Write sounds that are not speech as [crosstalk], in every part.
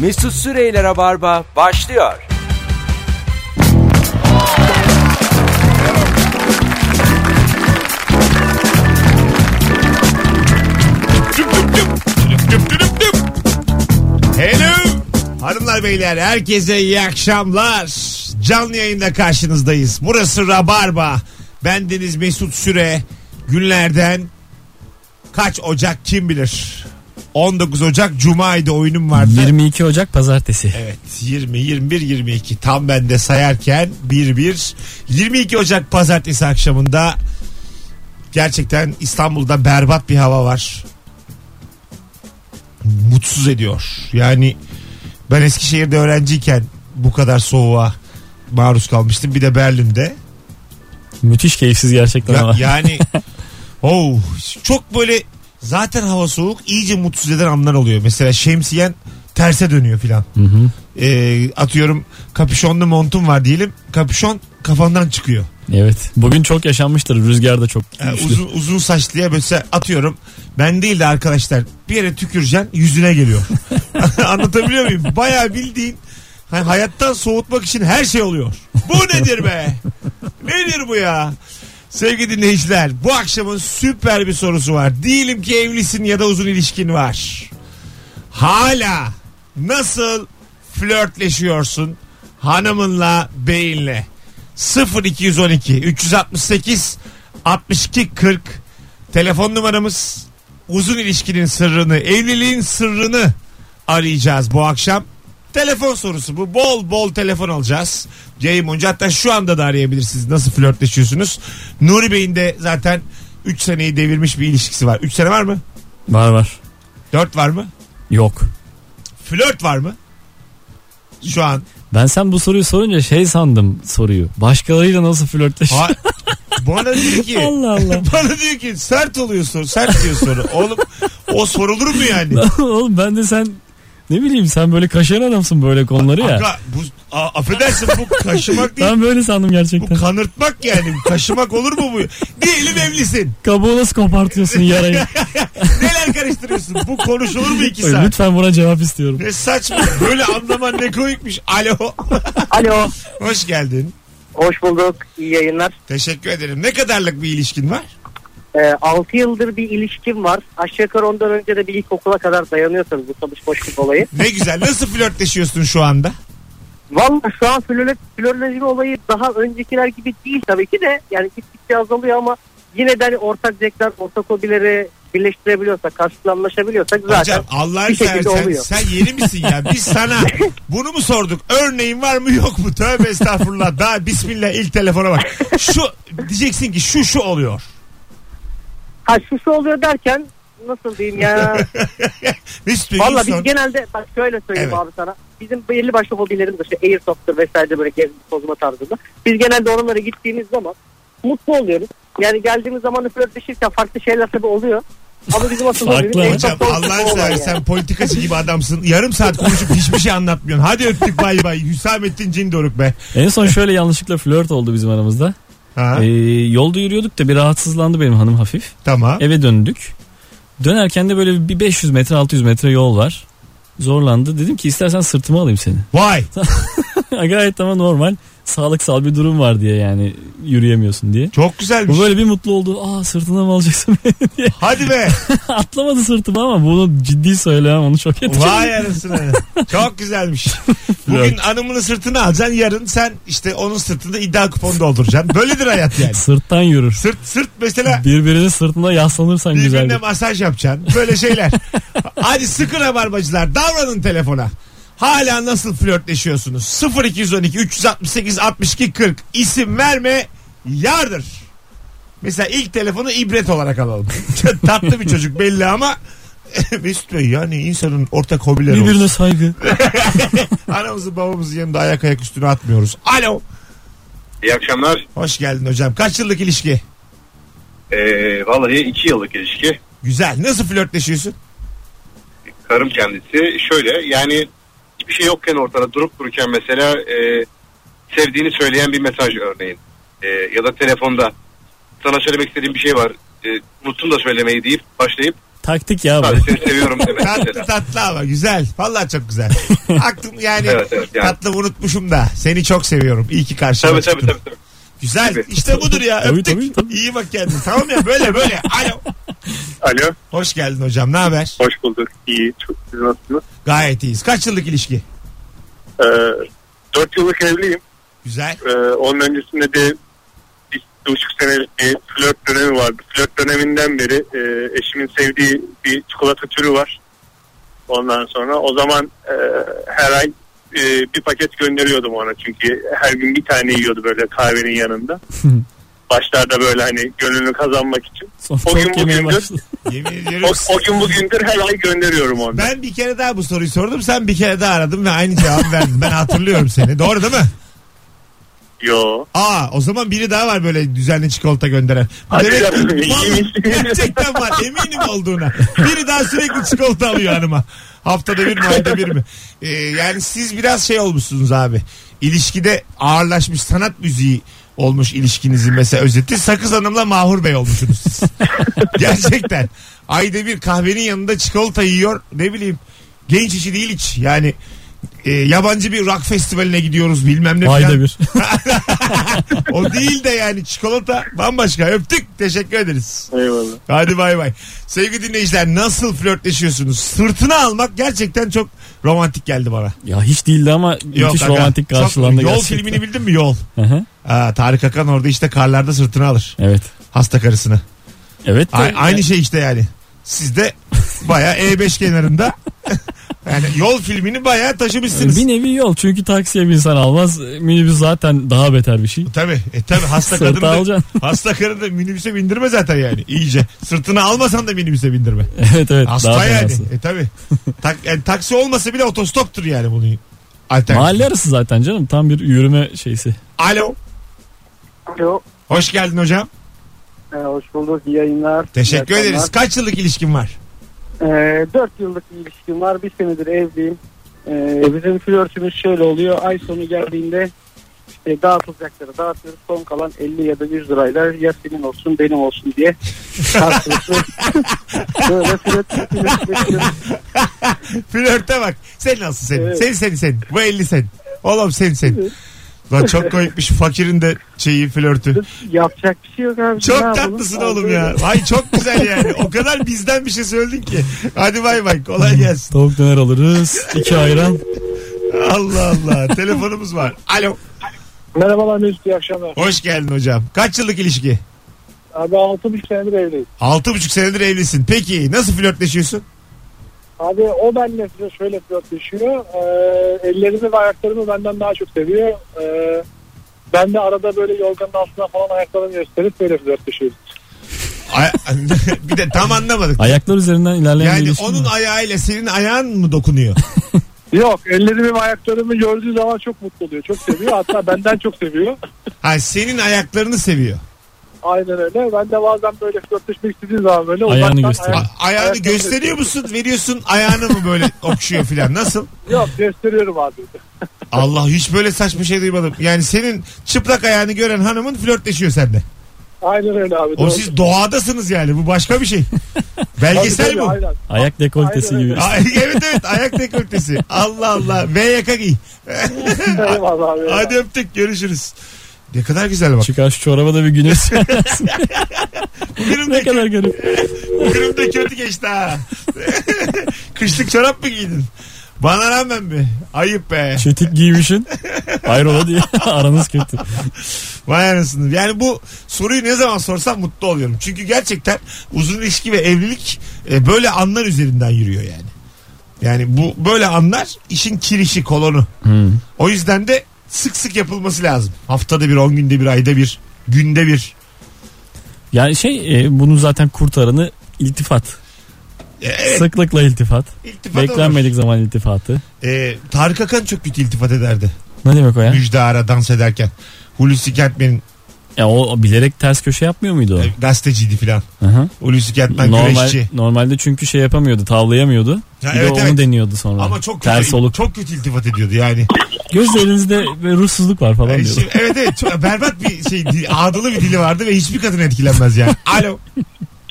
Mesut Süreyle Rabarba başlıyor. Düp düp düp. Düp düp düp düp. Hello. Hanımlar beyler herkese iyi akşamlar. Canlı yayında karşınızdayız. Burası Rabarba. Bendeniz Mesut Süre. Günlerden kaç Ocak kim bilir? 19 Ocak Cuma'ydı oyunum vardı. 22 Ocak pazartesi. Evet 20, 21, 22 tam ben de sayarken 1-1. 22 Ocak pazartesi akşamında gerçekten İstanbul'da berbat bir hava var. Mutsuz ediyor. Yani ben Eskişehir'de öğrenciyken bu kadar soğuğa maruz kalmıştım. Bir de Berlin'de. Müthiş keyifsiz gerçekten Ya- ama. yani oh, çok böyle zaten hava soğuk iyice mutsuz eden anlar oluyor. Mesela şemsiyen terse dönüyor filan. Ee, atıyorum kapüşonlu montum var diyelim. Kapüşon kafandan çıkıyor. Evet. Bugün çok yaşanmıştır. Rüzgar da çok Yani güçlü. Ee, uzun uzun saçlıya böyle se- atıyorum. Ben değil de arkadaşlar bir yere tüküreceksin yüzüne geliyor. [laughs] Anlatabiliyor muyum? Bayağı bildiğin hani hayattan soğutmak için her şey oluyor. Bu nedir be? Nedir bu ya? Sevgili dinleyiciler bu akşamın süper bir sorusu var. Diyelim ki evlisin ya da uzun ilişkin var. Hala nasıl flörtleşiyorsun hanımınla beyinle? 0212 368 62 40 telefon numaramız uzun ilişkinin sırrını evliliğin sırrını arayacağız bu akşam. Telefon sorusu bu. Bol bol telefon alacağız. Yayın boyunca hatta şu anda da arayabilirsiniz. Nasıl flörtleşiyorsunuz? Nuri Bey'in de zaten 3 seneyi devirmiş bir ilişkisi var. 3 sene var mı? Var var. 4 var mı? Yok. Flört var mı? Şu an. Ben sen bu soruyu sorunca şey sandım soruyu. Başkalarıyla nasıl flörtleş? Ha- bana diyor ki Allah Allah. [laughs] bana diyor ki sert oluyor soru. Sert diyor soru. Oğlum o sorulur mu yani? Oğlum ben de sen ne bileyim sen böyle kaşıyan adamsın böyle konuları ya. Aga, bu, a, affedersin bu kaşımak değil. Ben böyle sandım Bu gerçekten. kanırtmak yani. Kaşımak olur mu bu? Diyelim evlisin. Kabuğu nasıl kopartıyorsun [laughs] yarayı? Neler karıştırıyorsun? Bu konuşulur mu iki Oy, saat? Lütfen buna cevap istiyorum. Ne saçma. Böyle anlaman ne koyukmuş. Alo. Alo. Hoş geldin. Hoş bulduk. İyi yayınlar. Teşekkür ederim. Ne kadarlık bir ilişkin var? Ee, 6 yıldır bir ilişkim var. Aşağı yukarı ondan önce de bir ilkokula kadar dayanıyorsanız bu tabii boşluk olayı. Ne güzel. Nasıl flörtleşiyorsun şu anda? Vallahi şu an flörle- flörleşme olayı daha öncekiler gibi değil tabii ki de. Yani gittikçe azalıyor ama yine de hani ortak zevkler, ortak hobileri birleştirebiliyorsak, karşılıklı anlaşabiliyorsak zaten. Hocam Allah'ını bir şekilde seversen oluyor. sen yeni misin ya? Biz [laughs] sana bunu mu sorduk? Örneğin var mı yok mu? Tövbe estağfurullah. Daha bismillah ilk telefona bak. Şu diyeceksin ki şu şu oluyor. [laughs] Karşısı oluyor derken nasıl diyeyim ya. Mesut Bey, Valla ilk biz son- genelde bak şöyle söyleyeyim Evet. abi sana. Bizim belli başlı hobilerimiz işte airsoft'tur vesaire böyle gezme tozma tarzında. Biz genelde oralara gittiğimiz zaman mutlu oluyoruz. Yani geldiğimiz zaman da flörtleşirken farklı şeyler tabii oluyor. Ama bizim asıl Farklı hobimiz hocam, Hocam airsoft olsun Allah'ını olay yani. seversen politikacı gibi adamsın. Yarım saat konuşup hiçbir şey anlatmıyorsun. Hadi öptük bay bay. Hüsamettin Cindoruk be. En son şöyle yanlışlıkla flört oldu bizim aramızda. Ha, Ee, yolda yürüyorduk da bir rahatsızlandı benim hanım hafif. tamam. Eve döndük. Dönerken de böyle bir 500 metre 600 metre yol var. Zorlandı. Dedim ki istersen sırtıma alayım seni. [laughs] Vay. Gayet ama normal. Sağlıksal bir durum var diye yani yürüyemiyorsun diye. Çok güzelmiş. Bu böyle bir mutlu oldu. Aa sırtına mı alacaksın [laughs] beni diye. Hadi be. Atlamadı sırtıma ama bunu ciddi söylemem onu şok etti. Vay anasını. Çok güzelmiş. Bugün hanımını sırtına alacaksın. Yarın sen işte onun sırtında iddia kuponu dolduracaksın. Böyledir hayat yani. Sırttan yürür. Sırt sırt mesela Birbirinin sırtına yaslanırsan birbirine güzel. masaj yapacaksın. Böyle şeyler. Hadi sıkın rabarbacılar. Davranın telefona. Hala nasıl flörtleşiyorsunuz? 0212 368 62 40 isim verme yardır. Mesela ilk telefonu ibret olarak alalım. Tatlı bir çocuk belli ama [laughs] Mesut Bey yani insanın ortak hobileri olsun. Birbirine saygı. [laughs] Anamızı babamızın yanında ayak ayak üstüne atmıyoruz. Alo. İyi akşamlar. Hoş geldin hocam. Kaç yıllık ilişki? Ee, vallahi iki yıllık ilişki. Güzel. Nasıl flörtleşiyorsun? Karım kendisi. Şöyle yani hiçbir şey yokken ortada durup dururken mesela e, sevdiğini söyleyen bir mesaj örneğin. E, ya da telefonda sana söylemek istediğim bir şey var. E, unuttum da söylemeyi deyip başlayıp Taktik ya bu. Sadece [laughs] seni seviyorum demek Tatlı mesela. tatlı ama güzel. Vallahi çok güzel. [laughs] Aklım yani, Evet, evet, yani. tatlı unutmuşum da. Seni çok seviyorum. İyi ki karşıma Tabii tabii çıktın. tabii. tabii. Güzel. Tabii. İşte budur ya. Tabii, Öptük. tabii, tabii. İyi bak kendine. Tamam ya böyle böyle. Alo. Alo, Hoş geldin hocam. Ne haber? hoş bulduk. İyi, çok siz nasılsınız? Gayet iyiyiz. Kaç yıllık ilişki? Ee, 4 yıllık evliyim. Güzel. Ee, onun öncesinde de bir buçuk senelik bir flört dönemi vardı. Flört döneminden beri e, eşimin sevdiği bir çikolata türü var. Ondan sonra o zaman e, her ay e, bir paket gönderiyordum ona çünkü her gün bir tane yiyordu böyle kahvenin [laughs] yanında. Başlarda böyle hani gönlünü kazanmak için. Sonra O gün çok yemeye bugündür. başladı. [laughs] Yemin O, ediyorum. o gün bugündür her ay gönderiyorum onu. Ben bir kere daha bu soruyu sordum. Sen bir kere daha aradın ve aynı cevabı verdin. Ben hatırlıyorum seni. Doğru değil mi? Yo. Aa o zaman biri daha var böyle düzenli çikolata gönderen. Bu Hadi demek- canım, iyi [laughs] Vallahi misin? gerçekten var eminim olduğuna. Biri daha sürekli çikolata alıyor hanıma. Haftada bir mi ayda bir mi? Ee, yani siz biraz şey olmuşsunuz abi. İlişkide ağırlaşmış sanat müziği olmuş ilişkinizin mesela özeti. Sakız Hanım'la Mahur Bey olmuşsunuz [laughs] siz. gerçekten. Ayda bir kahvenin yanında çikolata yiyor. Ne bileyim genç işi değil hiç. Yani e, yabancı bir rock festivaline gidiyoruz bilmem ne Ayda filan. bir. [laughs] O değil de yani çikolata bambaşka. Öptük. Teşekkür ederiz. Eyvallah. Hadi bay bay. Sevgili dinleyiciler nasıl flörtleşiyorsunuz? Sırtına almak gerçekten çok romantik geldi bana. Ya hiç değildi ama müthiş aga, romantik çok- karşılandı Yol gerçekten. filmini bildin mi? Yol. Hı hı. Aa, Tarık Akan orada işte karlarda sırtına alır. evet. Hasta karısını. Evet. de- A- aynı şey işte yani. Sizde baya [laughs] E5 kenarında yani yol filmini baya taşımışsınız. Bir nevi yol çünkü taksiye bir insan almaz. Minibüs zaten daha beter bir şey. [laughs] Tabii. E tabii hasta Sırtı kadını da, alacaksın. hasta karını da minibüse bindirme zaten yani. iyice. Sırtını almasan da minibüse bindirme. evet evet. Hasta daha yani. fenası. E tabi. Tak, yani taksi olmasa bile otostoptur yani bunun. Alternatif. Mahalle arası zaten canım. Tam bir yürüme şeysi. Alo. Alo. Hoş geldin hocam. Ee, hoş bulduk. İyi yayınlar. Teşekkür İyi akşamlar. ederiz. Kaç yıllık ilişkin var? Ee, 4 yıllık bir ilişkim var. Bir senedir evliyim. Ee, bizim flörtümüz şöyle oluyor. Ay sonu geldiğinde işte dağıtılacakları dağıtıyoruz. Son kalan 50 ya da 100 lirayla ya senin olsun benim olsun diye karşılıklı böyle flört flörtleşiyoruz. Flörte bak. Sen nasıl senin? Evet. Sen sen sen. Bu 50 sen. Oğlum sen sen. Lan çok komikmiş fakirin de şeyi flörtü. Yapacak bir şey yok abi. Çok Ne yapalım? tatlısın Abi oğlum böyle. ya. Ay çok güzel yani. O kadar bizden bir şey söyledin ki. Hadi bay bay. Kolay gelsin. Tavuk döner alırız. iki ayran. Allah Allah. Telefonumuz var. Alo. Merhabalar Mesut iyi akşamlar. Hoş geldin hocam. Kaç yıllık ilişki? Abi 6,5 senedir evliyiz. Altı buçuk senedir evlisin. Peki nasıl flörtleşiyorsun? Abi o benimle size şöyle flörtleşiyor. Ee, ellerimi ve ayaklarımı benden daha çok seviyor. Ee, ben de arada böyle yorganın altına falan ayaklarını gösterip böyle flörtleşiyoruz. Ay- [laughs] bir de tam anlamadık. Ayaklar üzerinden ilerleyen bir Yani ilişki onun mi? ayağıyla senin ayağın mı dokunuyor? Yok ellerimi ve ayaklarımı gördüğü zaman çok mutlu oluyor. Çok seviyor. Hatta [laughs] benden çok seviyor. Ha senin ayaklarını seviyor. Aynen öyle. Ben de bazen böyle flörtleşmek istediğim zaman böyle Ayağını uzaktan gösteriyor. A- ayak- ayağını ayaklarını gösteriyor musun? Veriyorsun ayağını mı [laughs] böyle okşuyor filan? Nasıl? Yok gösteriyorum abi. Allah hiç böyle saçma şey duymadım. Yani senin çıplak ayağını gören hanımın flörtleşiyor sende. Aynen öyle abi. O siz doğadasınız yani. Bu başka [laughs] bir şey. Belgesel bu. Aynen. Ayak dekoltesi Aynen gibi. öyle. Ay, evet evet ayak dekoltesi. Allah Allah. V yaka giy. Eyvallah abi. Hadi öptük görüşürüz. Ne kadar güzel bak. Çıkar şu çoraba da bir güneş. [laughs] [laughs] ne Kırım'daki, kadar garip. kırımda kötü geçti ha. [laughs] Kışlık çorap mı giydin? Bana rağmen mi? Ayıp be. Çetik giymişin. Hayrola diye. [laughs] Aranız kötü. Vay anasını. Yani bu soruyu ne zaman sorsam mutlu oluyorum. Çünkü gerçekten uzun ilişki ve evlilik e, böyle anlar üzerinden yürüyor yani. Yani bu böyle anlar işin kirişi kolonu. O yüzden de sık sık yapılması lazım. Haftada bir, on günde bir, ayda bir, günde bir. Yani şey e, bunun zaten kurtaranı iltifat. E, evet, Sıklıkla iltifat. iltifat olur. Beklenmedik zaman iltifatı. E, Tarık Akan çok kötü iltifat ederdi. Ne demek o ya? Müjde Ara dans ederken. Hulusi Kentmen'in ya o, o bilerek ters köşe yapmıyor muydu o? e, gazeteciydi filan. Hı hı. Hulusi Kentmen Normal, güreşçi. normalde çünkü şey yapamıyordu, tavlayamıyordu. bir Ya de evet, onu evet. deniyordu sonra. Ama çok kötü, Hmm. ters oluk. çok kötü iltifat [laughs] ediyordu yani. Gözlerinizde böyle ruhsuzluk var falan Ay, şey- diyordu. [laughs] şimdi- evet evet çok berbat bir şey di- ağdalı bir dili vardı ve hiçbir kadın etkilenmez yani. Alo.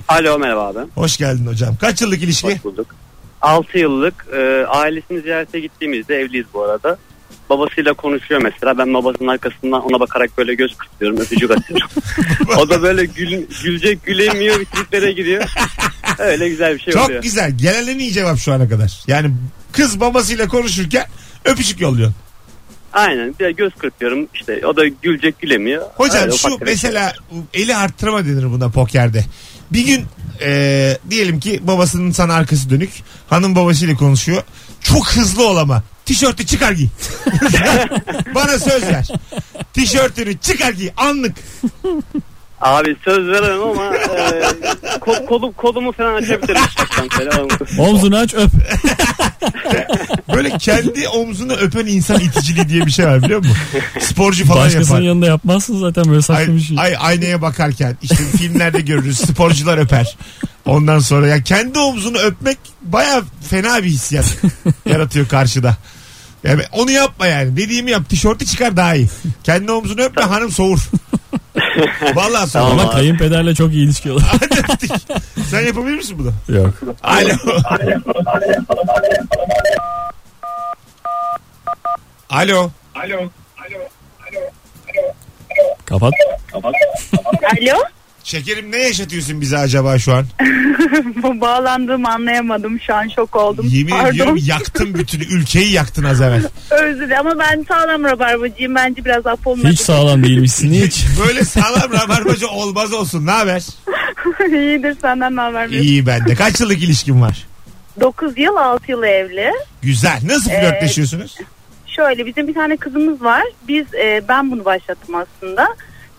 Alo merhaba abi. Hoş geldin hocam. Kaç yıllık ilişki? Hoş bulduk. 6 yıllık e, ailesini ziyarete gittiğimizde evliyiz bu arada. Babasıyla konuşuyor mesela. Ben babasının arkasından ona bakarak böyle göz kırpıyorum. [laughs] Öpücük atıyorum. o da böyle gül, gülecek gülemiyor. Bir triplere gidiyor. Öyle güzel bir şey Çok oluyor. güzel. Gelen en iyi cevap şu ana kadar. Yani kız babasıyla konuşurken öpücük yolluyorsun. Aynen. Bir de göz kırpıyorum. İşte o da gülecek gülemiyor. Hocam Öyle şu ufak tefek şey. mesela eli arttırma denir buna pokerde. Bir gün e, diyelim ki babasının sana arkası dönük. Hanım babasıyla konuşuyor. Çok hızlı ol ama. Tişörtü çıkar giy. [laughs] Bana söz ver. Tişörtünü çıkar giy. Anlık. Abi söz veremem ama e, ko- kolu- kolumu falan [laughs] açabilirim. istersen falan. Omzunu aç öp. Böyle kendi omzunu öpen insan iticiliği diye bir şey var biliyor musun? Sporcu falan Başkasının yapar. yanında yapmazsın zaten böyle Ay, saçma bir şey. ay- aynaya bakarken işte filmlerde görürüz sporcular öper. Ondan sonra ya kendi omzunu öpmek baya fena bir [laughs] hissiyat yaratıyor karşıda. Yani onu yapma yani. Dediğimi yap. Tişörtü çıkar daha iyi. Kendi omzunu öpme hanım soğur. Vallahi soğur. Tamam. Ama kayınpederle çok iyi ilişki [laughs] olur. Hadi öptük. Sen yapabilir misin bunu? Yok. Alo. Alo. Kapat. Alo. [laughs] Şekerim ne yaşatıyorsun bize acaba şu an? Bu bağlandığımı anlayamadım. Şu an şok oldum. Yemin Pardon. ediyorum yaktın bütün ülkeyi yaktın az evvel. Özür dilerim ama ben sağlam rabarbacıyım. Bence biraz af olmadı. Hiç sağlam değilmişsin hiç. Böyle sağlam rabarbacı olmaz olsun. Ne haber? [laughs] İyidir senden ne haber? İyi bende. Kaç yıllık ilişkin var? 9 yıl 6 yıl evli. Güzel. Nasıl Ee, flörtleşiyorsunuz? Şöyle bizim bir tane kızımız var. Biz e, ben bunu başlattım aslında.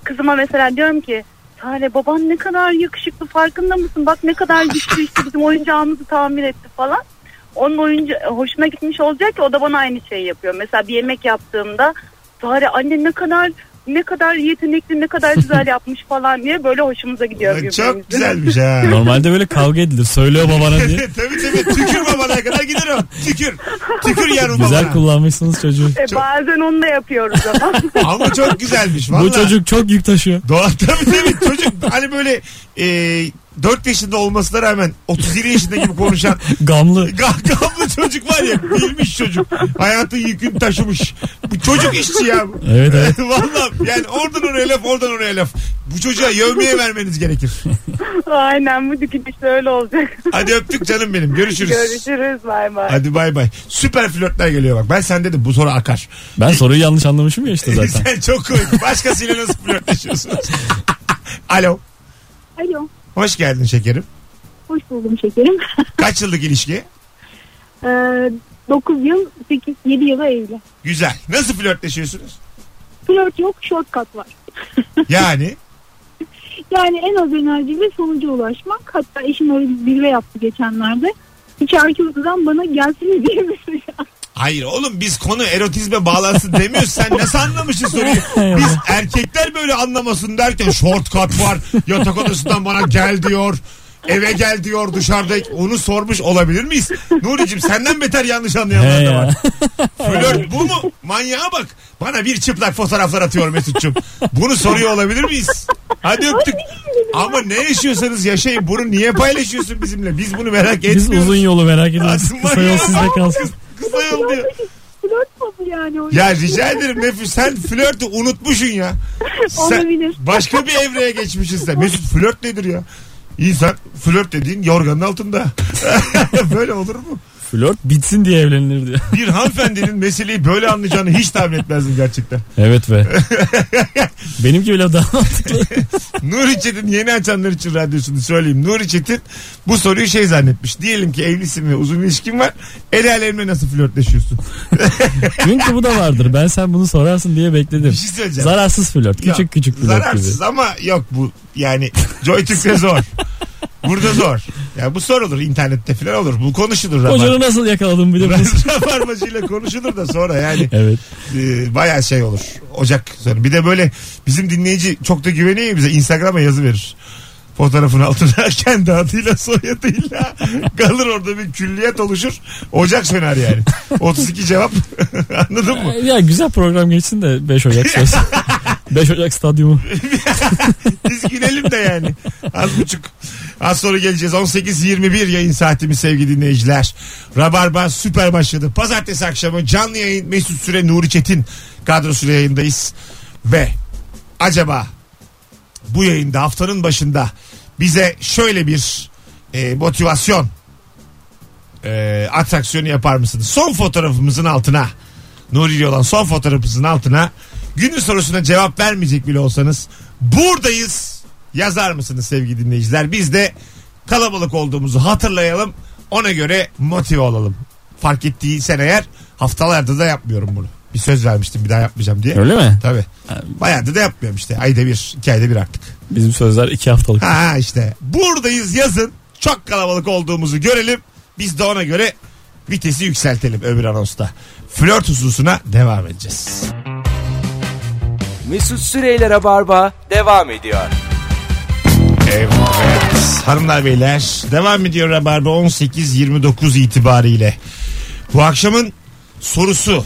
Kızıma mesela diyorum ki Tale baban ne kadar yakışıklı farkında mısın? Bak ne kadar güçlü işte bizim oyuncağımızı tamir etti falan. Onun oyuncu hoşuna gitmiş olacak ki o da bana aynı şeyi yapıyor. Mesela bir yemek yaptığımda Tale anne ne kadar ne kadar yetenekli ne kadar güzel yapmış falan diye böyle hoşumuza gidiyor. Ulan birbirimizin. Çok [laughs] güzelmiş ha. [laughs] Normalde böyle kavga edilir. Söylüyor babana diye. tabii tabii tükür babana kadar gider o. Tükür. Tükür yarın Güzel babana. kullanmışsınız çocuğu. E, bazen onu da yapıyoruz ama. [laughs] Ama çok güzelmiş. Vallahi. Bu çocuk çok yük taşıyor. Doğa [laughs] tabii tabii çocuk hani böyle e, 4 yaşında olmasına rağmen 37 yaşında gibi konuşan Gamlı. kahkahalı çocuk var ya bilmiş çocuk. Hayatın yükünü taşımış. Bu çocuk işçi ya. bu. Evet [laughs] evet. Valla yani oradan oraya laf oradan oraya laf. Bu çocuğa yövmeye vermeniz gerekir. Aynen bu dikilişle öyle olacak. [laughs] Hadi öptük canım benim. Görüşürüz. Görüşürüz bay bay. Hadi bay bay. Süper flörtler geliyor bak. Ben sende de bu soru akar. Ben soruyu yanlış anlamışım ya işte [laughs] zaten. Sen çok komik. Başkasıyla nasıl flörtleşiyorsunuz? [laughs] Alo. Alo. Hoş geldin şekerim. Hoş buldum şekerim. Kaç yıllık ilişki? Ee, 9 yıl, 8, 7 yıla evli. Güzel. Nasıl flörtleşiyorsunuz? Flört yok, shortcut var. Yani Yani en az enerjiyle sonuca ulaşmak. Hatta eşim öyle bir zirve yaptı geçenlerde. Hiç arkeologdan bana gelsin diye şey mesaj Hayır oğlum biz konu erotizme bağlansın demiyoruz. Sen nasıl anlamışsın soruyu? Biz erkekler böyle anlamasın derken shortcut var. Yatak odasından bana gel diyor. Eve gel diyor dışarıda. Onu sormuş olabilir miyiz? Nuri'cim senden beter yanlış anlayanlar He da ya. [laughs] var. Flört bu mu? Manyağa bak. Bana bir çıplak fotoğraflar atıyor Mesut'cum. Bunu soruyor olabilir miyiz? Hadi öptük. Ama ne yaşıyorsanız yaşayın. Bunu niye paylaşıyorsun bizimle? Biz bunu merak Biz etmiyoruz. uzun yolu merak ediyoruz. Aslında Kısa ya. yol sizde kalsın. Kısa yol diyor. Flört mu bu yani? O Ya rica ederim Nefis sen flörtü unutmuşsun ya. Olabilir. Başka bir evreye geçmişsin sen. Mesut flört nedir ya? İnsan flört dediğin yorganın altında. [laughs] böyle olur mu? Flört bitsin diye evlenilir diyor. Bir hanımefendinin meseleyi böyle anlayacağını hiç tahmin etmezdim gerçekten. Evet be. Benimki bile daha mantıklı. Nuri Çetin yeni açanlar için radyosunu söyleyeyim. Nuri Çetin bu soruyu şey zannetmiş. Diyelim ki evlisin ve uzun ilişkin var. El alemle nasıl flörtleşiyorsun? Çünkü bu da vardır. Ben sen bunu sorarsın diye bekledim. Bir şey söyleyeceğim. Zararsız flört. Ya, Küçük küçük flört Zararsız ama yok bu yani Joy Türk'te zor. Burada zor. Ya bu sorulur internette falan olur. Bu konuşulur. gibi. rabar- Kocanı nasıl yakaladın bilir misin? [laughs] Rabarbacıyla konuşulur da sonra yani Evet. e, bayağı şey olur. Ocak sonu. Bir de böyle bizim dinleyici çok da güveniyor ya bize Instagram'a yazı verir. Fotoğrafın altına [laughs] kendi adıyla soyadıyla [laughs] kalır orada bir külliyet oluşur. Ocak söner yani. 32 cevap. [laughs] Anladın mı? Ya güzel program geçsin de 5 [laughs] Ocak söz. 5 Ocak stadyumu. Biz gülelim de yani. Az buçuk. Az sonra geleceğiz. 18.21 yayın saatimiz sevgili dinleyiciler. Rabarba süper başladı. Pazartesi akşamı canlı yayın Mesut Süre Nuri Çetin kadrosuyla yayındayız. Ve acaba bu yayında haftanın başında bize şöyle bir e, motivasyon e, atraksiyonu yapar mısınız? Son fotoğrafımızın altına Nuri ile olan son fotoğrafımızın altına günün sorusuna cevap vermeyecek bile olsanız buradayız yazar mısınız sevgili dinleyiciler? Biz de kalabalık olduğumuzu hatırlayalım ona göre motive olalım. Fark ettiysen eğer haftalarda da yapmıyorum bunu. Bir söz vermiştim bir daha yapmayacağım diye. Öyle mi? Tabii. Bayağıdır da yapmıyorum işte. Ayda bir, iki ayda bir artık. Bizim sözler iki haftalık. Ha işte. Buradayız yazın. Çok kalabalık olduğumuzu görelim. Biz de ona göre vitesi yükseltelim öbür anonsta. Flört hususuna devam edeceğiz. Mesut Süreyler'e barba devam ediyor. Evet. Hanımlar beyler devam ediyor Rabarba 18-29 itibariyle. Bu akşamın sorusu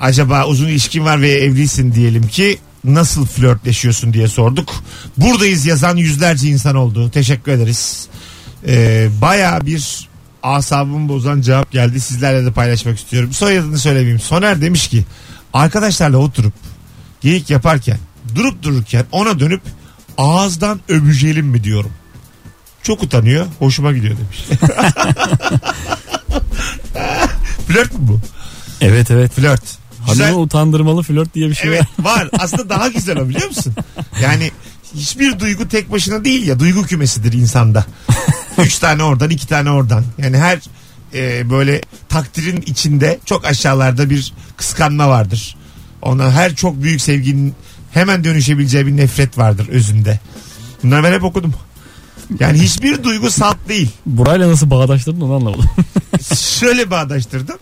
acaba uzun ilişkin var ve evlisin diyelim ki nasıl flörtleşiyorsun diye sorduk. Buradayız yazan yüzlerce insan oldu. Teşekkür ederiz. Ee, Baya bir asabımı bozan cevap geldi. Sizlerle de paylaşmak istiyorum. Soyadını söylemeyeyim. Soner demiş ki arkadaşlarla oturup geyik yaparken durup dururken ona dönüp ağızdan öbücelim mi diyorum. Çok utanıyor. Hoşuma gidiyor demiş. [laughs] Flört mü bu? Evet evet. Flört. Güzel. Hanımı utandırmalı flört diye bir şey Evet var. var. Aslında daha güzel o biliyor musun? Yani hiçbir duygu tek başına değil ya. Duygu kümesidir [laughs] insanda. Üç tane oradan iki tane oradan. Yani her e, böyle takdirin içinde çok aşağılarda bir kıskanma vardır. Ona her çok büyük sevginin hemen dönüşebileceği bir nefret vardır özünde. Bunları ben hep okudum. Yani hiçbir duygu salt değil. Burayla nasıl bağdaştırdın onu anlamadım. Şöyle bağdaştırdım.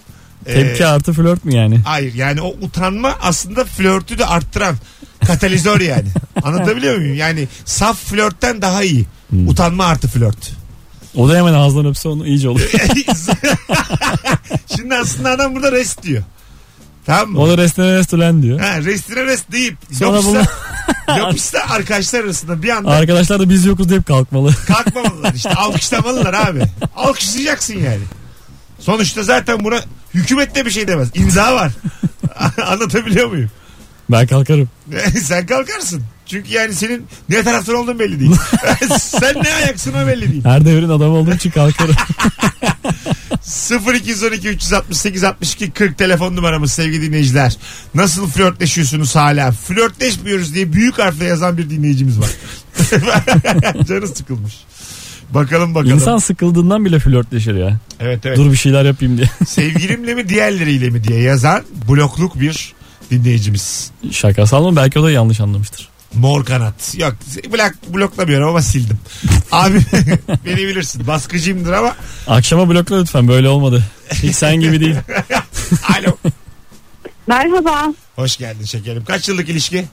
Ee, Tepki artı flört mü yani? Hayır yani o utanma aslında flörtü de arttıran [laughs] katalizör yani. Anlatabiliyor muyum? Yani saf flörtten daha iyi. Hmm. Utanma artı flört. [laughs] O da hemen ağızdan öpse onu iyice olur. Şimdi aslında adam burada rest diyor. Tamam mı? o da restore restoran diyor. Ha, restine rest deyip Sonra yapışsa, [laughs] yapışsa arkadaşlar arasında bir anda Arkadaşlar da biz yokuz deyip kalkmalı. kalkmamalılar işte alkışlamalılar abi. Alkışlayacaksın yani. Sonuçta zaten buna hükümet de bir şey demez. İmza var. [laughs] Anlatabiliyor muyum? ben kalkarım. [laughs] Sen kalkarsın. Çünkü yani senin ne taraftan olduğun belli [laughs] değil. Sen ne ayaksın o belli değil. Her devrin adamı olduğum için kalkarım. 0212 368 62 40 telefon numaramız sevgili dinleyiciler. Nasıl flörtleşiyorsunuz hala? Flörtleşmiyoruz diye büyük harfle yazan bir dinleyicimiz var. [laughs] Canı sıkılmış. Bakalım bakalım. İnsan sıkıldığından bile flörtleşir ya. Evet evet. Dur bir şeyler yapayım diye. [laughs] Sevgilimle mi diğerleriyle mi diye yazan blokluk bir dinleyicimiz. Şakasal mı? Belki o da yanlış anlamıştır. Mor kanat. Yok blok, bloklamıyorum ama sildim. Abi [laughs] beni bilirsin baskıcıyımdır ama Akşama blokla lütfen böyle olmadı. Hiç sen gibi [laughs] değil. Alo. Merhaba. [laughs] Hoş geldin şekerim. Kaç yıllık ilişki?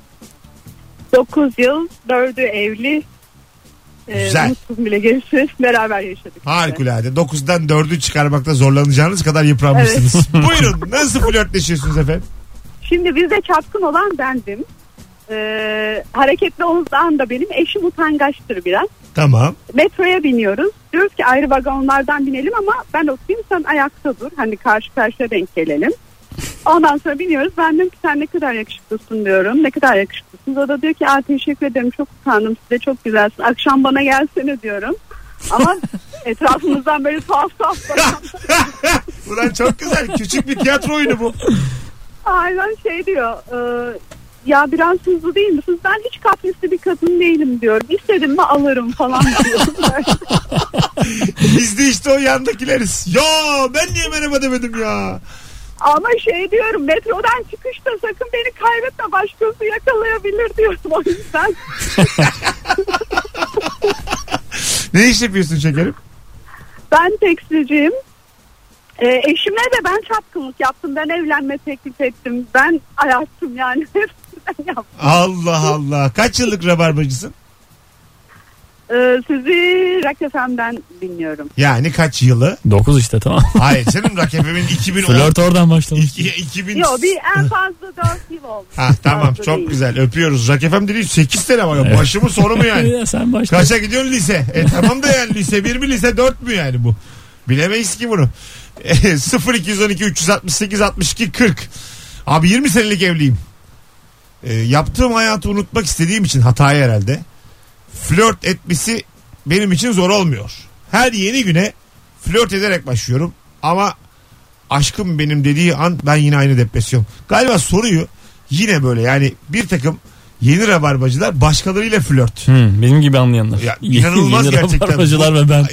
9 yıl, 4'ü evli. Ee, Güzel. Mutsuz bile gelişi beraber yaşadık. Harikulade. 9'dan 4'ü çıkarmakta zorlanacağınız kadar yıpranmışsınız. [laughs] Buyurun. Nasıl flörtleşiyorsunuz efendim? Şimdi bizde çapkın olan bendim. Ee, hareketli olan da benim. Eşim utangaçtır biraz. Tamam. Metroya biniyoruz. Diyoruz ki ayrı vagonlardan binelim ama ben oturayım sen ayakta dur. Hani karşı karşıya denk gelelim. Ondan sonra biniyoruz. Ben diyorum ki sen ne kadar yakışıklısın diyorum. Ne kadar yakışıklısın. O da diyor ki Aa, teşekkür ederim çok utandım size çok güzelsin. Akşam bana gelsene diyorum. Ama etrafımızdan böyle tuhaf tuhaf bakan Ulan çok güzel. Küçük bir tiyatro oyunu bu. Aynen şey diyor. e, ya biraz hızlı değil misiniz? Ben hiç kaprisli bir kadın değilim diyorum. İstedim mi alırım falan diyor. Biz de işte o yandakileriz. Ya ben niye merhaba demedim ya. Ama şey diyorum metrodan çıkışta sakın beni kaybetme başkası yakalayabilir diyorum [laughs] o yüzden. Ne iş yapıyorsun şekerim? Ben tekstilciyim. E, eşime de ben çapkınlık yaptım. Ben evlenme teklif ettim. Ben ayaktım [laughs] yani. Hepsini ben yaptım. Allah Allah. Kaç yıllık rabarbacısın? Ee, sizi Rock FM'den dinliyorum. Yani kaç yılı? 9 işte tamam. Hayır canım rakibimin 2010. Flört oradan başlamış. 2000. Yo bir en fazla 4 yıl oldu. Ha tamam Fazla çok değil. güzel öpüyoruz. Rock FM dediğin 8 sene var. ya. Evet. Başı mı sonu mu [laughs] yani? Ya sen başla. Kaça gidiyorsun lise? E tamam da yani lise 1 mi lise 4 mü yani bu? Bilemeyiz ki bunu. E, 0212 368 62 40. Abi 20 senelik evliyim. E, yaptığım hayatı unutmak istediğim için hatayı herhalde. Flört etmesi benim için zor olmuyor. Her yeni güne flört ederek başlıyorum. Ama aşkım benim dediği an ben yine aynı depresyon. Galiba soruyu yine böyle yani bir takım yeni rabarbacılar başkalarıyla flört. Hmm, benim gibi anlayanlar. Ya [laughs] inanılmaz Yeni gerçekten. rabarbacılar ve ben. [laughs]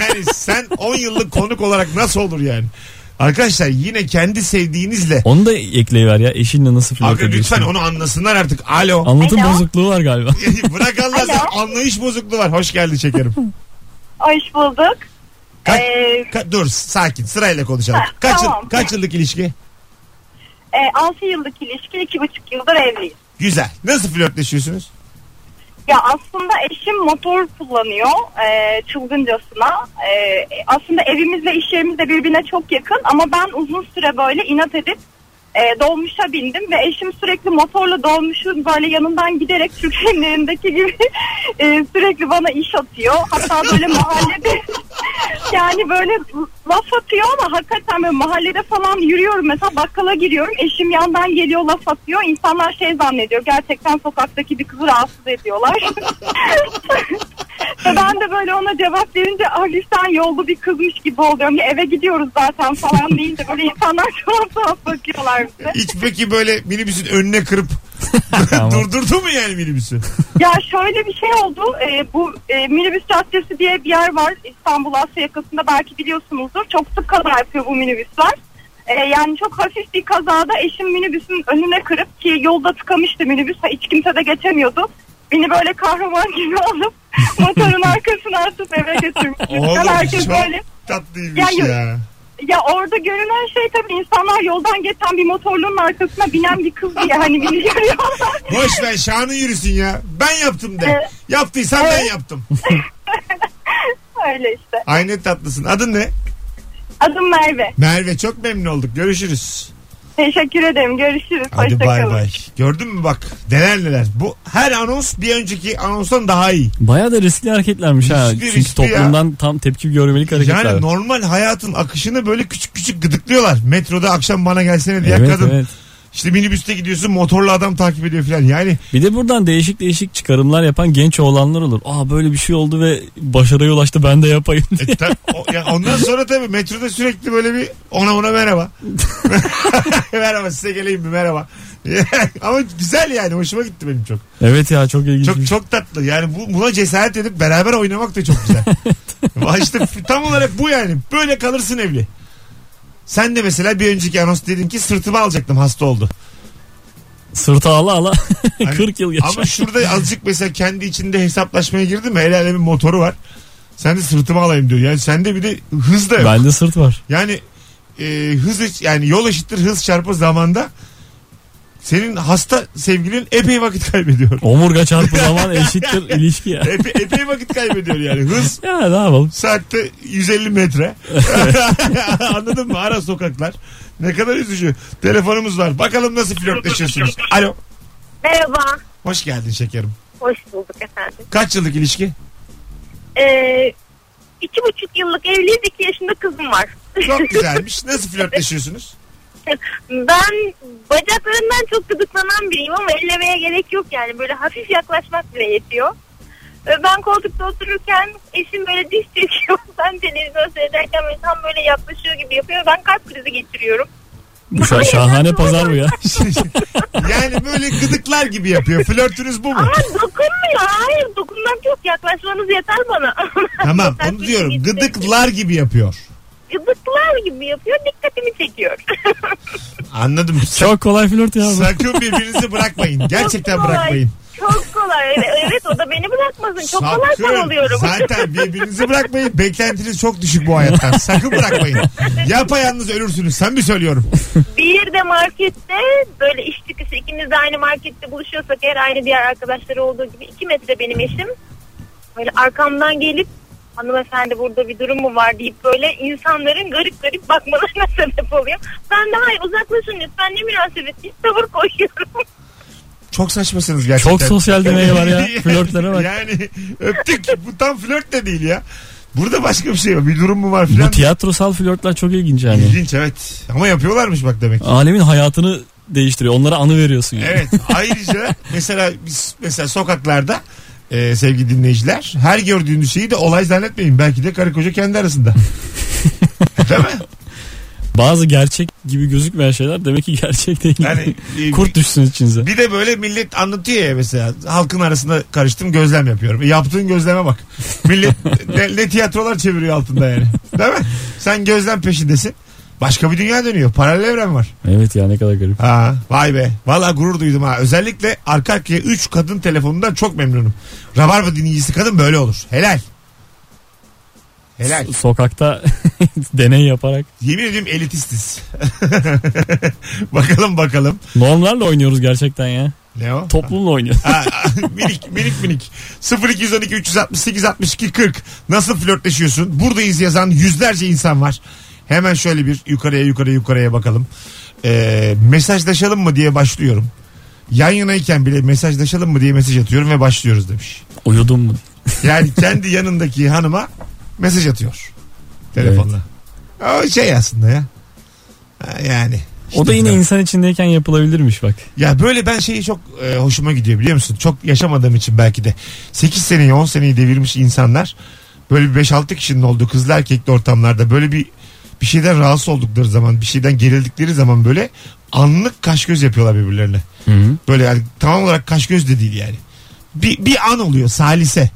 yani sen 10 yıllık konuk olarak nasıl olur yani? Arkadaşlar yine kendi sevdiğinizle. Onu da ekleyiver ya. Eşinle nasıl flört Abi ediyorsun? lütfen onu anlasınlar artık. Alo. Anlatım Alo. bozukluğu var [laughs] galiba. Bırak Allah sen anlayış bozukluğu var. Hoş geldin şekerim. Hoş bulduk. Kaç, Ee, ka- dur sakin sırayla konuşalım. Ha, Kaç, yıl- tamam. kaç yıllık ilişki? E, 6 yıllık ilişki, 2,5 yıldır evliyiz. Güzel. Nasıl flörtleşiyorsunuz? Ya aslında eşim motor kullanıyor e, çılgıncasına. E, aslında evimizle iş yerimiz de birbirine çok yakın ama ben uzun süre böyle inat edip e, dolmuşa bindim ve eşim sürekli motorla dolmuşun böyle yanından giderek Türk filmlerindeki gibi e, sürekli bana iş atıyor. Hatta böyle mahallede yani böyle laf atıyor ama hakikaten böyle mahallede falan yürüyorum mesela bakkala giriyorum eşim yandan geliyor laf atıyor insanlar şey zannediyor gerçekten sokaktaki bir kızı rahatsız ediyorlar ve ben de böyle ona cevap verince hafiften yollu bir kızmış gibi oluyorum ya eve gidiyoruz zaten falan deyince böyle insanlar [laughs] tuhaf tuhaf bakıyorlar bize Hiç peki böyle minibüsün önüne kırıp [laughs] Tamam. [laughs] durdurdu mu yani minibüsü? Ya şöyle bir şey oldu. Ee, bu e, minibüs caddesi diye bir yer var İstanbul Asya yakasında belki biliyorsunuzdur. Çok sık kaza yapıyor bu minibüsler. Ee, yani çok hafif bir kazada eşim minibüsün önüne kırıp ki yolda tıkamıştı minibüs. Ha, Hiç kimse de geçemiyordu. Beni böyle kahraman gibi alıp motorun arkasına atıp eve götürmüş. Oğlum Herkes çok böyle tatlıymış Ya, ya. ya orada görünen şey tabii insanlar yoldan geçen bir motorluğun arkasına binen bir kız diye hani beni görüyorlar. Boş ver şanı yürüsün ya. Ben yaptım de. Evet. Yaptıysan ben yaptım. Öyle işte. Aynı tatlısın. Adın ne? Adım Merve. Merve çok memnun olduk. Görüşürüz. Teşekkür ederim. Görüşürüz. Hadi bay Hoşçakalın. bay. Gördün mü bak neler neler. Bu her anons bir önceki anonstan daha iyi. Bayağı da riskli hareketlermiş ha. Riskli, Çünkü riskli toplumdan tam tepki görmelik hareketler. Yani var. normal hayatın akışını böyle küçük küçük gıdıklıyorlar. Metroda akşam bana gelsene diye evet, kadın. evet. İşte minibüste gidiyorsun motorlu adam takip ediyor falan. Yani Bir de buradan değişik değişik çıkarımlar yapan genç oğlanlar olur. Aa böyle bir şey oldu ve başarıya ulaştı ben de yapayım diye. e, ta- o- ya ondan sonra tabii metroda sürekli böyle bir ona ona merhaba. merhaba size geleyim mi merhaba. [laughs] Ama güzel yani hoşuma gitti benim çok. [laughs] Evet ya çok ilginç. bir Çok şey. çok tatlı. Yani bu, buna cesaret edip beraber oynamak da çok güzel. Vay işte f- tam olarak bu yani. Böyle kalırsın evli. Sen de mesela bir önceki anons dedin ki sırtıma alacaktım hasta oldu. Sırtı ala ala [laughs] Hani- 40 yıl yaşa. Ama şurada azıcık mesela kendi içinde hesaplaşmaya girdi mi el alemin motoru var. Sen de sırtıma alayım diyor. Yani sende bir de hız da yok. Bende sırt var. Yani e, hız eş- yani yol eşittir hız çarpı zamanda senin hasta sevgilin epey [laughs] vakit kaybediyor. Omurga çarpı zaman [laughs] eşittir ilişki ya. Epe- epey vakit kaybediyor yani. Hız Ya ne yapalım? Saatte 150 metre. [laughs] Anladın mı? Ara sokaklar. Ne kadar üzücü. Telefonumuz var. Bakalım nasıl flörtleşiyorsunuz. Alo. Merhaba. Hoş geldin şekerim. Hoş bulduk efendim. Kaç yıllık ilişki? Ee, iki buçuk yıllık evliyiz. iki yaşında kızım var. Çok güzelmiş. Nasıl flörtleşiyorsunuz? [laughs] ben bacaklarından çok gıdıklanan biriyim ama ellemeye gerek yok yani. Böyle hafif yaklaşmak bile yetiyor. Ee, Ben koltukta otururken eşim böyle diş çekiyor. [laughs] Ben televizyon seyrederken böyle tam böyle yaklaşıyor gibi yapıyor. Ben kalp krizi geçiriyorum. Bu şa- şahane pazar bu ya. yani böyle gıdıklar gibi yapıyor. Flörtünüz bu mu? Ama dokunmuyor. Hayır dokunmak yok. Yaklaşmanız yeter bana. [laughs] Tamam Kalp onu krizi diyorum. geçiriyor. Gıdıklar gibi yapıyor. Gıdıklar gibi yapıyor. Dikkatimi çekiyor. Anladım. [laughs] Sa- Çok kolay flört ya. bu. Sakın birbirinizi bırakmayın. Gerçekten Çok kolay. bırakmayın. Çok kolay. Evet, evet, o da beni bırakmasın. Çok kolay Sakın. sarılıyorum. Zaten birbirinizi bırakmayın. Beklentiniz çok düşük bu hayattan. Sakın bırakmayın. Yapayalnız ölürsünüz. Sen mi söylüyorum? Bir de markette böyle iş çıkışı ikimiz de aynı markette buluşuyorsak eğer aynı diğer arkadaşları olduğu gibi iki metre benim eşim. Böyle arkamdan gelip hanımefendi burada bir durum mu var deyip böyle insanların garip garip bakmalarına [laughs] sebep oluyor. Ben de hayır uzaklaşın lütfen ne münasebet diye tavır koyuyorum. Çok saçmasınız gerçekten. Çok sosyal demeyi [laughs] var ya. Flörtlere bak. Yani öptük. Bu tam flört de değil ya. Burada başka bir şey var. Bir durum mu var filan. Bu tiyatrosal flörtler çok ilginç yani. İlginç evet. Ama yapıyorlarmış bak demek. ki. Alemin hayatını değiştiriyor. Onlara anı veriyorsun yani. Evet. Ayrıca mesela biz mesela sokaklarda e, sevgili dinleyiciler her gördüğünüz şeyi de olay zannetmeyin. Belki de karı koca kendi arasında. Değil mi? Bazı gerçek gibi gözükmeyen şeyler demek ki gerçek değil. Yani [laughs] e, Kurt düşsün içinize. bir de böyle millet anlatıyor ya mesela halkın arasında karıştım gözlem yapıyorum. E, Yaptığın gözleme bak. Millet ne, ne tiyatrolar çeviriyor altında yani. Değil mi? Sen gözlem peşindesin. Başka bir dünya dönüyor. Paralel evren var. Evet ya ne kadar garip. Ha, vay be. Valla gurur duydum ha. Özellikle arka arkaya 3 kadın telefonundan çok memnunum. Rabarba dinleyicisi kadın böyle olur. Helal. Helal. So- Sokakta [laughs] deney yaparak Yemin ediyorum elitistiz. [laughs] bakalım bakalım. normlarla oynuyoruz gerçekten ya. Ne o? Toplumla [laughs] oynuyoruz. Ha, minik minik minik 0212 368 62 40 nasıl flörtleşiyorsun buradayız yazan yüzlerce insan var hemen şöyle bir yukarıya yukarıya yukarıya bakalım Ee, mesajlaşalım mı diye başlıyorum yan yanayken bile mesajlaşalım mı diye mesaj atıyorum ve başlıyoruz demiş Uyudun mu? [laughs] yani kendi yanındaki hanıma mesaj atıyor telefonla o şey aslında ya Ha, yani O da İşte yine falan. insan içindeyken yapılabilirmiş bak. Ya böyle ben şeyi çok e, hoşuma gidiyor biliyor musun? Çok yaşamadığım için belki de. 8 seneyi 10 seneyi devirmiş insanlar böyle bir 5-6 kişinin olduğu kızlı erkekli ortamlarda böyle bir bir şeyden rahatsız oldukları zaman bir şeyden gerildikleri zaman böyle anlık kaş göz yapıyorlar birbirlerine. Böyle yani tam olarak kaş göz de değil yani. Bir, bir an oluyor salise.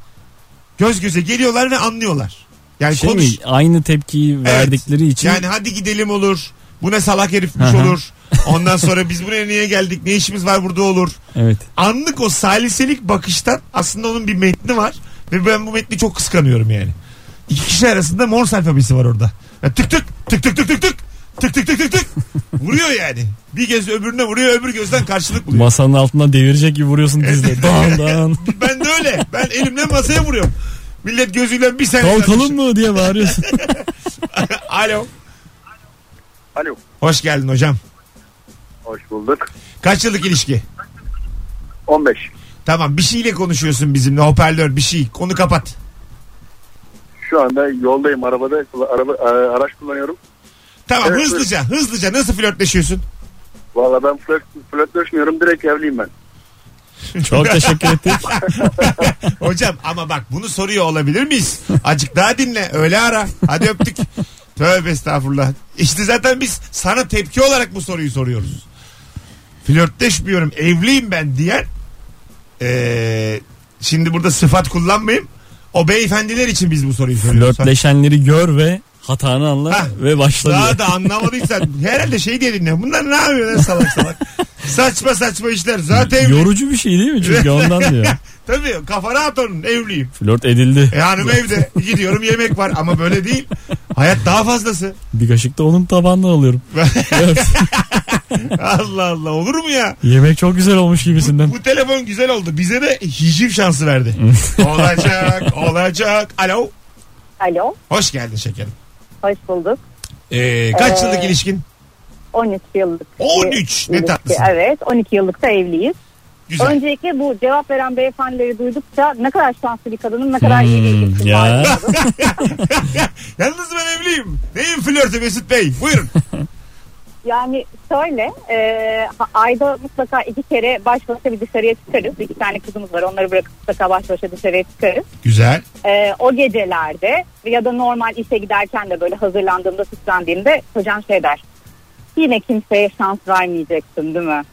Göz göze geliyorlar ve anlıyorlar. Yani Şey mi, konuş. aynı tepkiyi verdikleri için Yani hadi gidelim olur. Bu ne salak herifmiş Aha. olur. Ondan sonra biz buraya niye geldik? Ne işimiz var burada olur evet. anlık o saliselik bakıştan aslında onun bir metni var. Ve ben bu metni çok kıskanıyorum yani. İki kişi arasında Morse alfabesi var orada. Ya tık tık tık tık tık tık tık tık tık tık tık tık vuruyor yani. Bir göz öbürüne vuruyor öbür gözden karşılık buluyor. Masanın altından devirecek gibi vuruyorsun dizle. [laughs] Dağın dağın. ben de öyle. Ben elimle masaya vuruyorum. Millet gözüyle bir sene Kalkalım mı diye bağırıyorsun. [laughs] Alo. Alo. Hoş geldin hocam. Hoş bulduk. Kaç yıllık ilişki? 15. Tamam bir şeyle konuşuyorsun bizimle hoparlör bir şey. Konu kapat. Şu anda yoldayım arabada araba, e, araç kullanıyorum. Tamam Evet, hızlıca hızlıca nasıl flörtleşiyorsun? Valla ben flört, flörtleşmiyorum direkt evliyim ben. Çok teşekkür [laughs] ettik. Hocam ama bak bunu soruyor olabilir miyiz? Acık daha dinle öyle ara. Hadi öptük. Tövbe estağfurullah. İşte zaten biz sana tepki olarak bu soruyu soruyoruz. Flörtleşmiyorum evliyim ben diyen ee, şimdi burada sıfat kullanmayayım. O beyefendiler için biz bu soruyu soruyoruz. Flörtleşenleri gör ve hatanı anla Ha. ve başla Daha diye. da anlamadıysan herhalde şey diye dinliyorum. Bunlar ne yapıyor lan salak salak. saçma saçma işler. Zaten evli- Yorucu bir şey değil mi? Çünkü ondan diyor. Tabii kafa rahat onun evliyim. Flört edildi. E hanım evde. Gidiyorum yemek var ama böyle değil. Hayat daha fazlası. Bir kaşık da onun tabandan [laughs] alıyorum. Evet. Allah Allah olur mu ya? Yemek çok güzel olmuş gibisinden. Bu telefon güzel oldu. Bize de hicim şansı verdi. olacak, olacak. Alo. Alo, Hoş geldin şekerim. hoş bulduk. Ee, kaç Ee, yıllık ilişkin? 13 yıllık. 13. Ne ilişki. tatlısın. Evet, 12 yıllık da evliyiz. Güzel. Öncelikle bu cevap veren beyefendileri duydukça ne kadar şanslı bir kadının ne kadar iyi bir ilişkisi Hmm, ya. var. [laughs] Yalnız ben evliyim. Neyin flörtü Mesut Bey? Buyurun. Yani şöyle e, ha- ayda mutlaka iki kere baş başa bir dışarıya çıkarız. İki tane kızımız var onları bırakıp mutlaka baş başa dışarıya çıkarız. Güzel. E, o gecelerde ya da normal işe giderken de böyle hazırlandığımda süslendiğimde kocam şey der. Yine kimseye şans vermeyeceksin değil mi?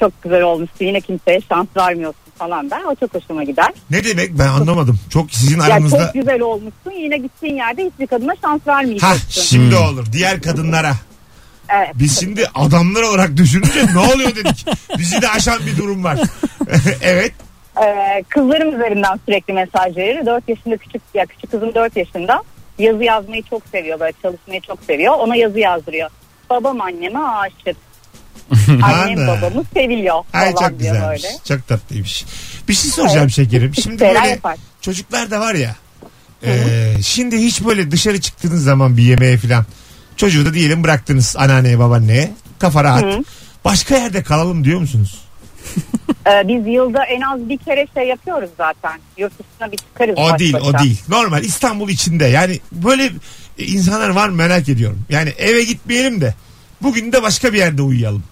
Çok güzel olmuştu yine kimseye şans vermiyorsun falan der. O çok hoşuma gider. Ne demek ben anlamadım. Çok sizin Ya aranızda... çok güzel olmuşsun yine gittiğin yerde hiçbir kadına şans Ha vermeyeceksin. şimdi olur. Diğer kadınlara. Evet. Biz şimdi adamlar olarak düşününce ne oluyor dedik. Bizi de aşan bir durum var. [laughs] evet. Ee, kızlarım üzerinden sürekli mesaj verir. 4 yaşında küçük ya küçük kızım 4 yaşında. [laughs] Yazı yazmayı çok seviyor böyle çalışmayı çok seviyor. Ona yazı yazdırıyor. Babam anneme aşık. Annem Ana. babamı seviyor. Ay falan çok diyor güzelmiş. böyle. Çok tatlıymış. Bir şey soracağım şekerim. Şimdi Şeyler böyle yapar. çocuklar da var ya. e, şimdi hiç böyle dışarı çıktığınız zaman bir yemeğe falan. Çocuğu da diyelim bıraktınız anneanneye babaanneye. Kafa rahat. Başka yerde kalalım diyor musunuz? Ee, biz yılda en az bir kere şey yapıyoruz zaten. Yurt dışına bir çıkarız O baş değil o başa. değil. Normal İstanbul içinde yani böyle e, insanlar var mı merak ediyorum. Yani eve gitmeyelim de bugün de başka bir yerde uyuyalım.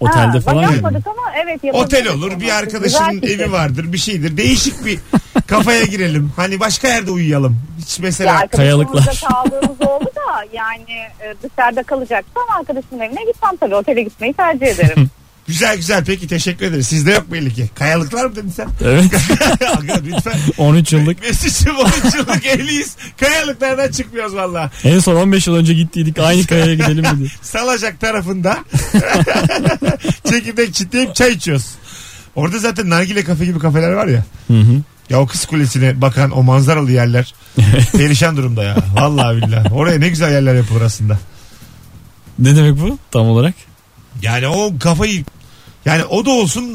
Otelde Ha, falan bak yani. yapmadık ama evet yapabiliriz. Otel olur ama. bir Güzel şey. arkadaşının fikir. evi vardır bir şeydir. Değişik bir kafaya girelim. Hani başka yerde uyuyalım. Hiç Ya mesela arkadaşımızla Kayalıklar. kaldığımız oldu da yani e, dışarıda kalacaksam arkadaşımın evine gitmem tabii. Otele gitmeyi [laughs] tercih ederim. güzel güzel peki teşekkür ederiz. Sizde yok belli ki. Kayalıklar mı dedin sen? Evet. [laughs] Aga, Lütfen. 13 yıllık. Mesut'cum 13 yıllık evliyiz. Kayalıklardan çıkmıyoruz valla. En son 15 yıl önce gittiydik aynı kayaya gidelim dedi. [laughs] Salacak tarafında [laughs] çekirdek çitleyip çay içiyoruz. Orada zaten nargile kafe gibi kafeler var ya. Ya o kız kulesine bakan o manzaralı yerler perişan durumda ya. Vallahi billahi. Oraya ne güzel yerler yapılır aslında. Ne demek bu tam olarak? Yani o kafayı yani o da olsun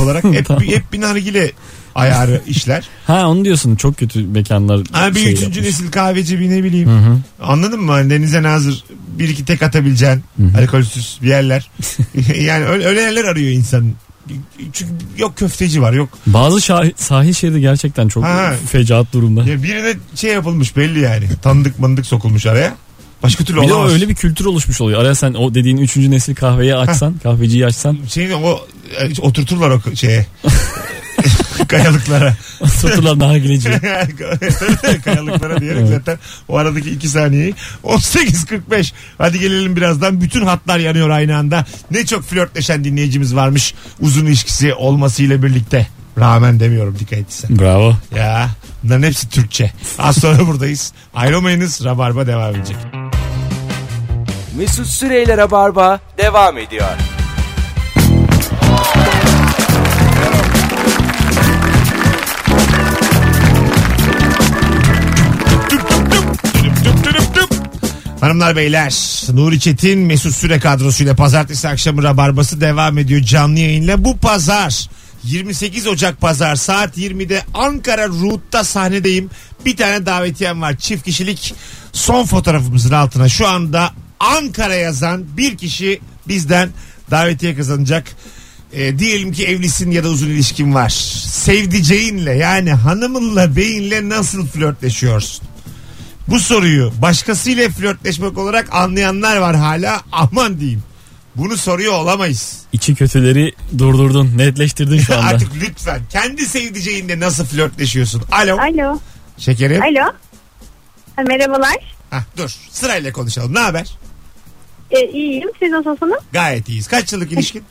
[laughs] olarak hep, Tamam. bir, hep bir nargile ayarı [laughs] işler. Ha onu diyorsun çok kötü mekanlar. Ha bir şey üçüncü yapmış. nesil kahveci bir ne bileyim. Hı hı. Anladın mı? Hani denize nazır bir iki tek atabileceğin alkolsüz [laughs] bir yerler. yani öyle, öyle yerler arıyor insan. Çünkü yok köfteci var yok. Bazı şah- sahil şeridi gerçekten çok Ha. fecaat durumda. Ya birine şey yapılmış belli yani. Tanıdık mandık sokulmuş araya. Başka türlü Bir de olamaz. öyle bir kültür oluşmuş oluyor. Araya sen o dediğin üçüncü nesil kahveyi açsan, kahveciyi [laughs] açsan Şeyin o e, oturturlar o [laughs] şeye. [laughs] kayalıklara. satılan [laughs] nargileci. [laughs] kayalıklara diyerek zaten o aradaki 2 saniyeyi 18.45 hadi gelelim birazdan bütün hatlar yanıyor aynı anda ne çok flörtleşen dinleyicimiz varmış uzun ilişkisi olmasıyla birlikte rağmen demiyorum dikkat etsen Bravo. ya bunların hepsi Türkçe az sonra buradayız ayrılmayınız Rabarba devam edecek Mesut Süreyler'e barba devam ediyor. Hanımlar beyler Nuri Çetin Mesut Süre kadrosuyla pazartesi akşamı Rabarbası devam ediyor canlı yayınla. Bu pazar 28 Ocak pazar saat 20'de Ankara Root'ta sahnedeyim. Bir tane davetiyem var çift kişilik son fotoğrafımızın altına şu anda Ankara yazan bir kişi bizden davetiye kazanacak. E, diyelim ki evlisin ya da uzun ilişkin var. Sevdiceğinle yani hanımınla beyinle nasıl flörtleşiyorsun? Bu soruyu başkasıyla flörtleşmek olarak anlayanlar var hala aman diyeyim. Bunu soruyor olamayız. İçi kötüleri durdurdun, netleştirdin şu anda. Artık lütfen kendi sevdiceğinle nasıl flörtleşiyorsun? Alo Alo. şekerim. Alo. Ha, merhabalar. Hah, dur sırayla konuşalım ne haber? E, iyiyim. Siz nasılsınız? Gayet iyiyiz. Kaç yıllık ilişkin?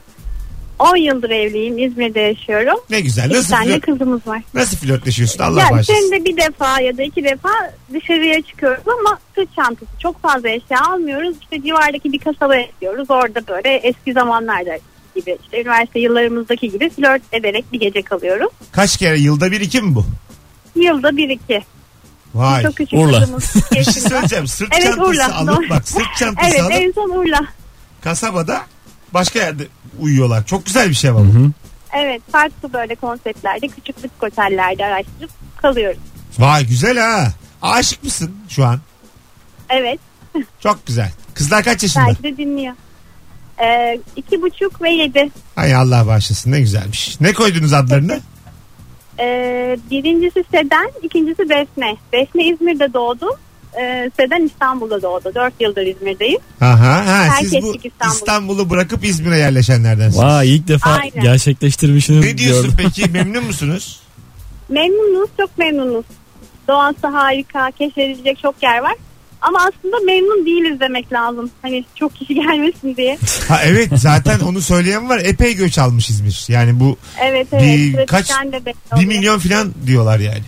10 yıldır evliyim. İzmir'de yaşıyorum. Ne güzel. İki Nasıl, tane flört, kızımız var. nasıl flörtleşiyorsun Allah Ya bağışlasın. senede bir defa ya da iki defa dışarıya çıkıyoruz ama sırt çantası çok fazla eşya almıyoruz. İşte civardaki bir kasabaya gidiyoruz. Orada böyle eski zamanlarda gibi işte üniversite yıllarımızdaki gibi flört ederek bir gece kalıyoruz. Kaç kere yılda bir iki mi bu? Yılda bir iki. Vay. Çok küçük Urla. [laughs] kızımız. Bir şey söyleyeceğim. Sırt Evet, çantası Urla. alıp Doğru. bak [laughs] sırt çantası evet alıp en son Urla. kasabada başka yerde uyuyorlar. Çok güzel bir şey var bu. Evet farklı böyle konseptlerde küçük lüks otellerde araştırıp kalıyoruz. Vay güzel ha. Aşık mısın şu an? Evet Çok güzel. Kızlar kaç yaşında? belki de dinliyor. Ee, iki buçuk ve yedi. Ay Allah bağışlasın ne güzelmiş. Ne koydunuz adlarını? Ee, birincisi Seden, ikincisi Besme. Besme İzmir'de doğdu. Ee, Seden İstanbul'da doğdu. Dört yıldır İzmir'deyim. Aha, ha, siz Herkes bu İstanbul. İstanbul'u bırakıp İzmir'e yerleşenlerdensiniz. Vay ilk defa Aynen. gerçekleştirmişini Ne diyorsun gördüm. peki memnun musunuz? Memnunuz, çok memnunuz. Doğası harika, keşfedilecek çok yer var. Ama aslında memnun değiliz demek lazım. Hani çok kişi [laughs] gelmesin diye. Ha evet zaten onu söyleyen var. Epey göç almış İzmir. Yani bu Evet evet. Bir- trafikten kaç- de belli bir oluyor. milyon falan diyorlar yani.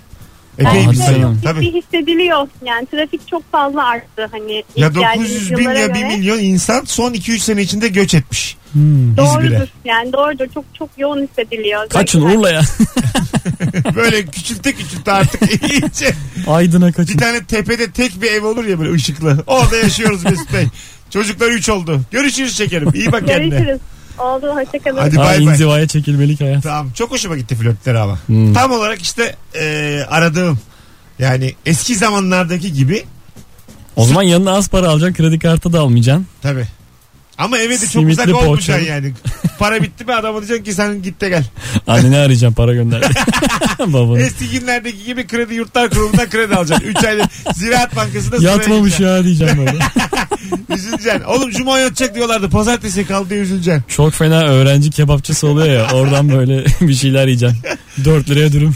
Bence Epey bir Hadi sayı. canım. Tabii. Bir hissediliyor. Yani trafik çok fazla arttı. Hani Ya ihtiyacımız 900 bin yıllara ya 1 göre. milyon insan son 2-3 sene içinde göç etmiş. [laughs] Hmm. İzmir'e. Doğrudur. Yani doğrudur. Çok çok yoğun hissediliyor. Kaçın Özellikle- [laughs] Urla'ya. Böyle küçülte küçülte artık [laughs] iyice. Aydın'a Bir kaçın. tane tepede tek bir ev olur ya böyle ışıklı. Orada yaşıyoruz Mesut Bey. Çocuklar 3 oldu. Görüşürüz şekerim. İyi bak kendine. Görüşürüz. Oldu hoşçakalın. Hadi Aa, bay bay. inzivaya çekilmelik hayat. Tamam çok hoşuma gitti flörtler ama. Hmm. Tam olarak işte e, aradığım yani eski zamanlardaki gibi O zaman yanına az para alacaksın kredi kartı da almayacaksın. tabi. Ama eve de çok Simitli uzak poğaça. olmayacaksın yani. Para bitti mi adama diyeceksin ki sen git de gel. Annene arayacaksın para gönder. [laughs] Babanı. Eski günlerdeki gibi kredi yurtlar kurumundan kredi alacaksın. 3 aylık Ziraat Bankası'nda sıraya Yatmamış gireceksin. ya diyeceğim böyle. Üzüleceksin. Oğlum cuma yatacak diyorlardı. Pazartesi kaldı diye üzüleceksin. Çok fena öğrenci kebapçısı oluyor ya. Oradan böyle [laughs] bir şeyler yiyeceksin. 4 liraya dürüm.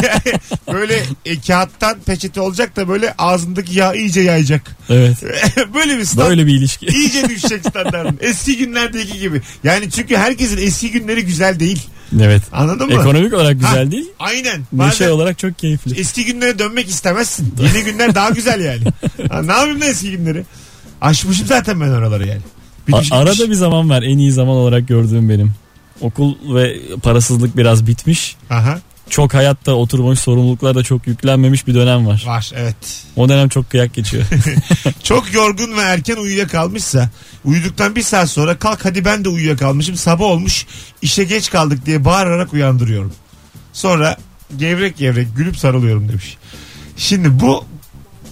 [laughs] Böyle e, kağıttan peçete olacak da böyle ağzındaki yağ iyice yayacak. [laughs] [laughs] Evet. böyle bir stand. [laughs] Böyle bir ilişki. İyice düşecek standartın. Eski günlerdeki gibi. Yani çünkü herkesin eski günleri güzel değil. Evet. Anladın mı? Ekonomik olarak güzel Ha, değil. Aynen. Neşe Bazen olarak çok keyifli. eski günlere dönmek istemezsin. Yeni günler daha güzel yani. Ha, ne yapayım da eski günleri? Aşmışım zaten ben oraları yani. Bir A- düşün- arada bir zaman var. En iyi zaman olarak gördüğüm benim. Okul ve parasızlık biraz bitmiş. Aha, Çok hayatta oturmuş sorumluluklar da çok yüklenmemiş bir dönem var. var evet. O dönem çok kıyak geçiyor. Çok yorgun ve erken uyuyakalmışsa uyuduktan bir saat sonra kalk hadi ben de uyuyakalmışım sabah olmuş işe geç kaldık diye bağırarak uyandırıyorum. Sonra gevrek gevrek gülüp sarılıyorum demiş. Şimdi bu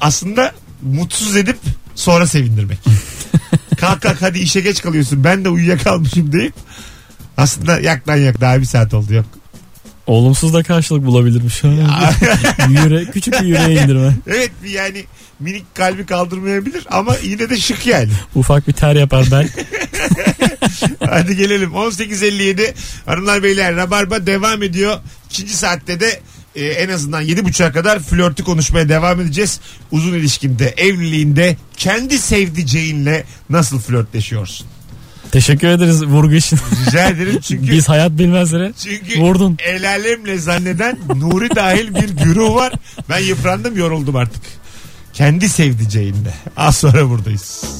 aslında mutsuz edip sonra sevindirmek. kalk kalk hadi işe geç kalıyorsun ben de uyuyakalmışım deyip aslında yak lan yak daha bir saat oldu yok. Olumsuz da karşılık bulabilirmiş. [laughs] Yüre, küçük bir yüreğe indirme. Evet bir yani minik kalbi kaldırmayabilir ama yine de şık yani. Ufak bir ter yapar ben. [laughs] Hadi gelelim. 18.57 Hanımlar Beyler Rabarba devam ediyor. İkinci saatte de e, en azından 7.30'a kadar flörtü konuşmaya devam edeceğiz. Uzun ilişkinde, evliliğinde kendi sevdiceğinle nasıl flörtleşiyorsun? Teşekkür ederiz vurgu için. Rica ederim çünkü... Biz hayat bilmezlere Çünkü vurdun. el alemle zanneden Nuri dahil bir güruh var. Ben yıprandım yoruldum artık. Kendi sevdiceğinde. Az sonra buradayız.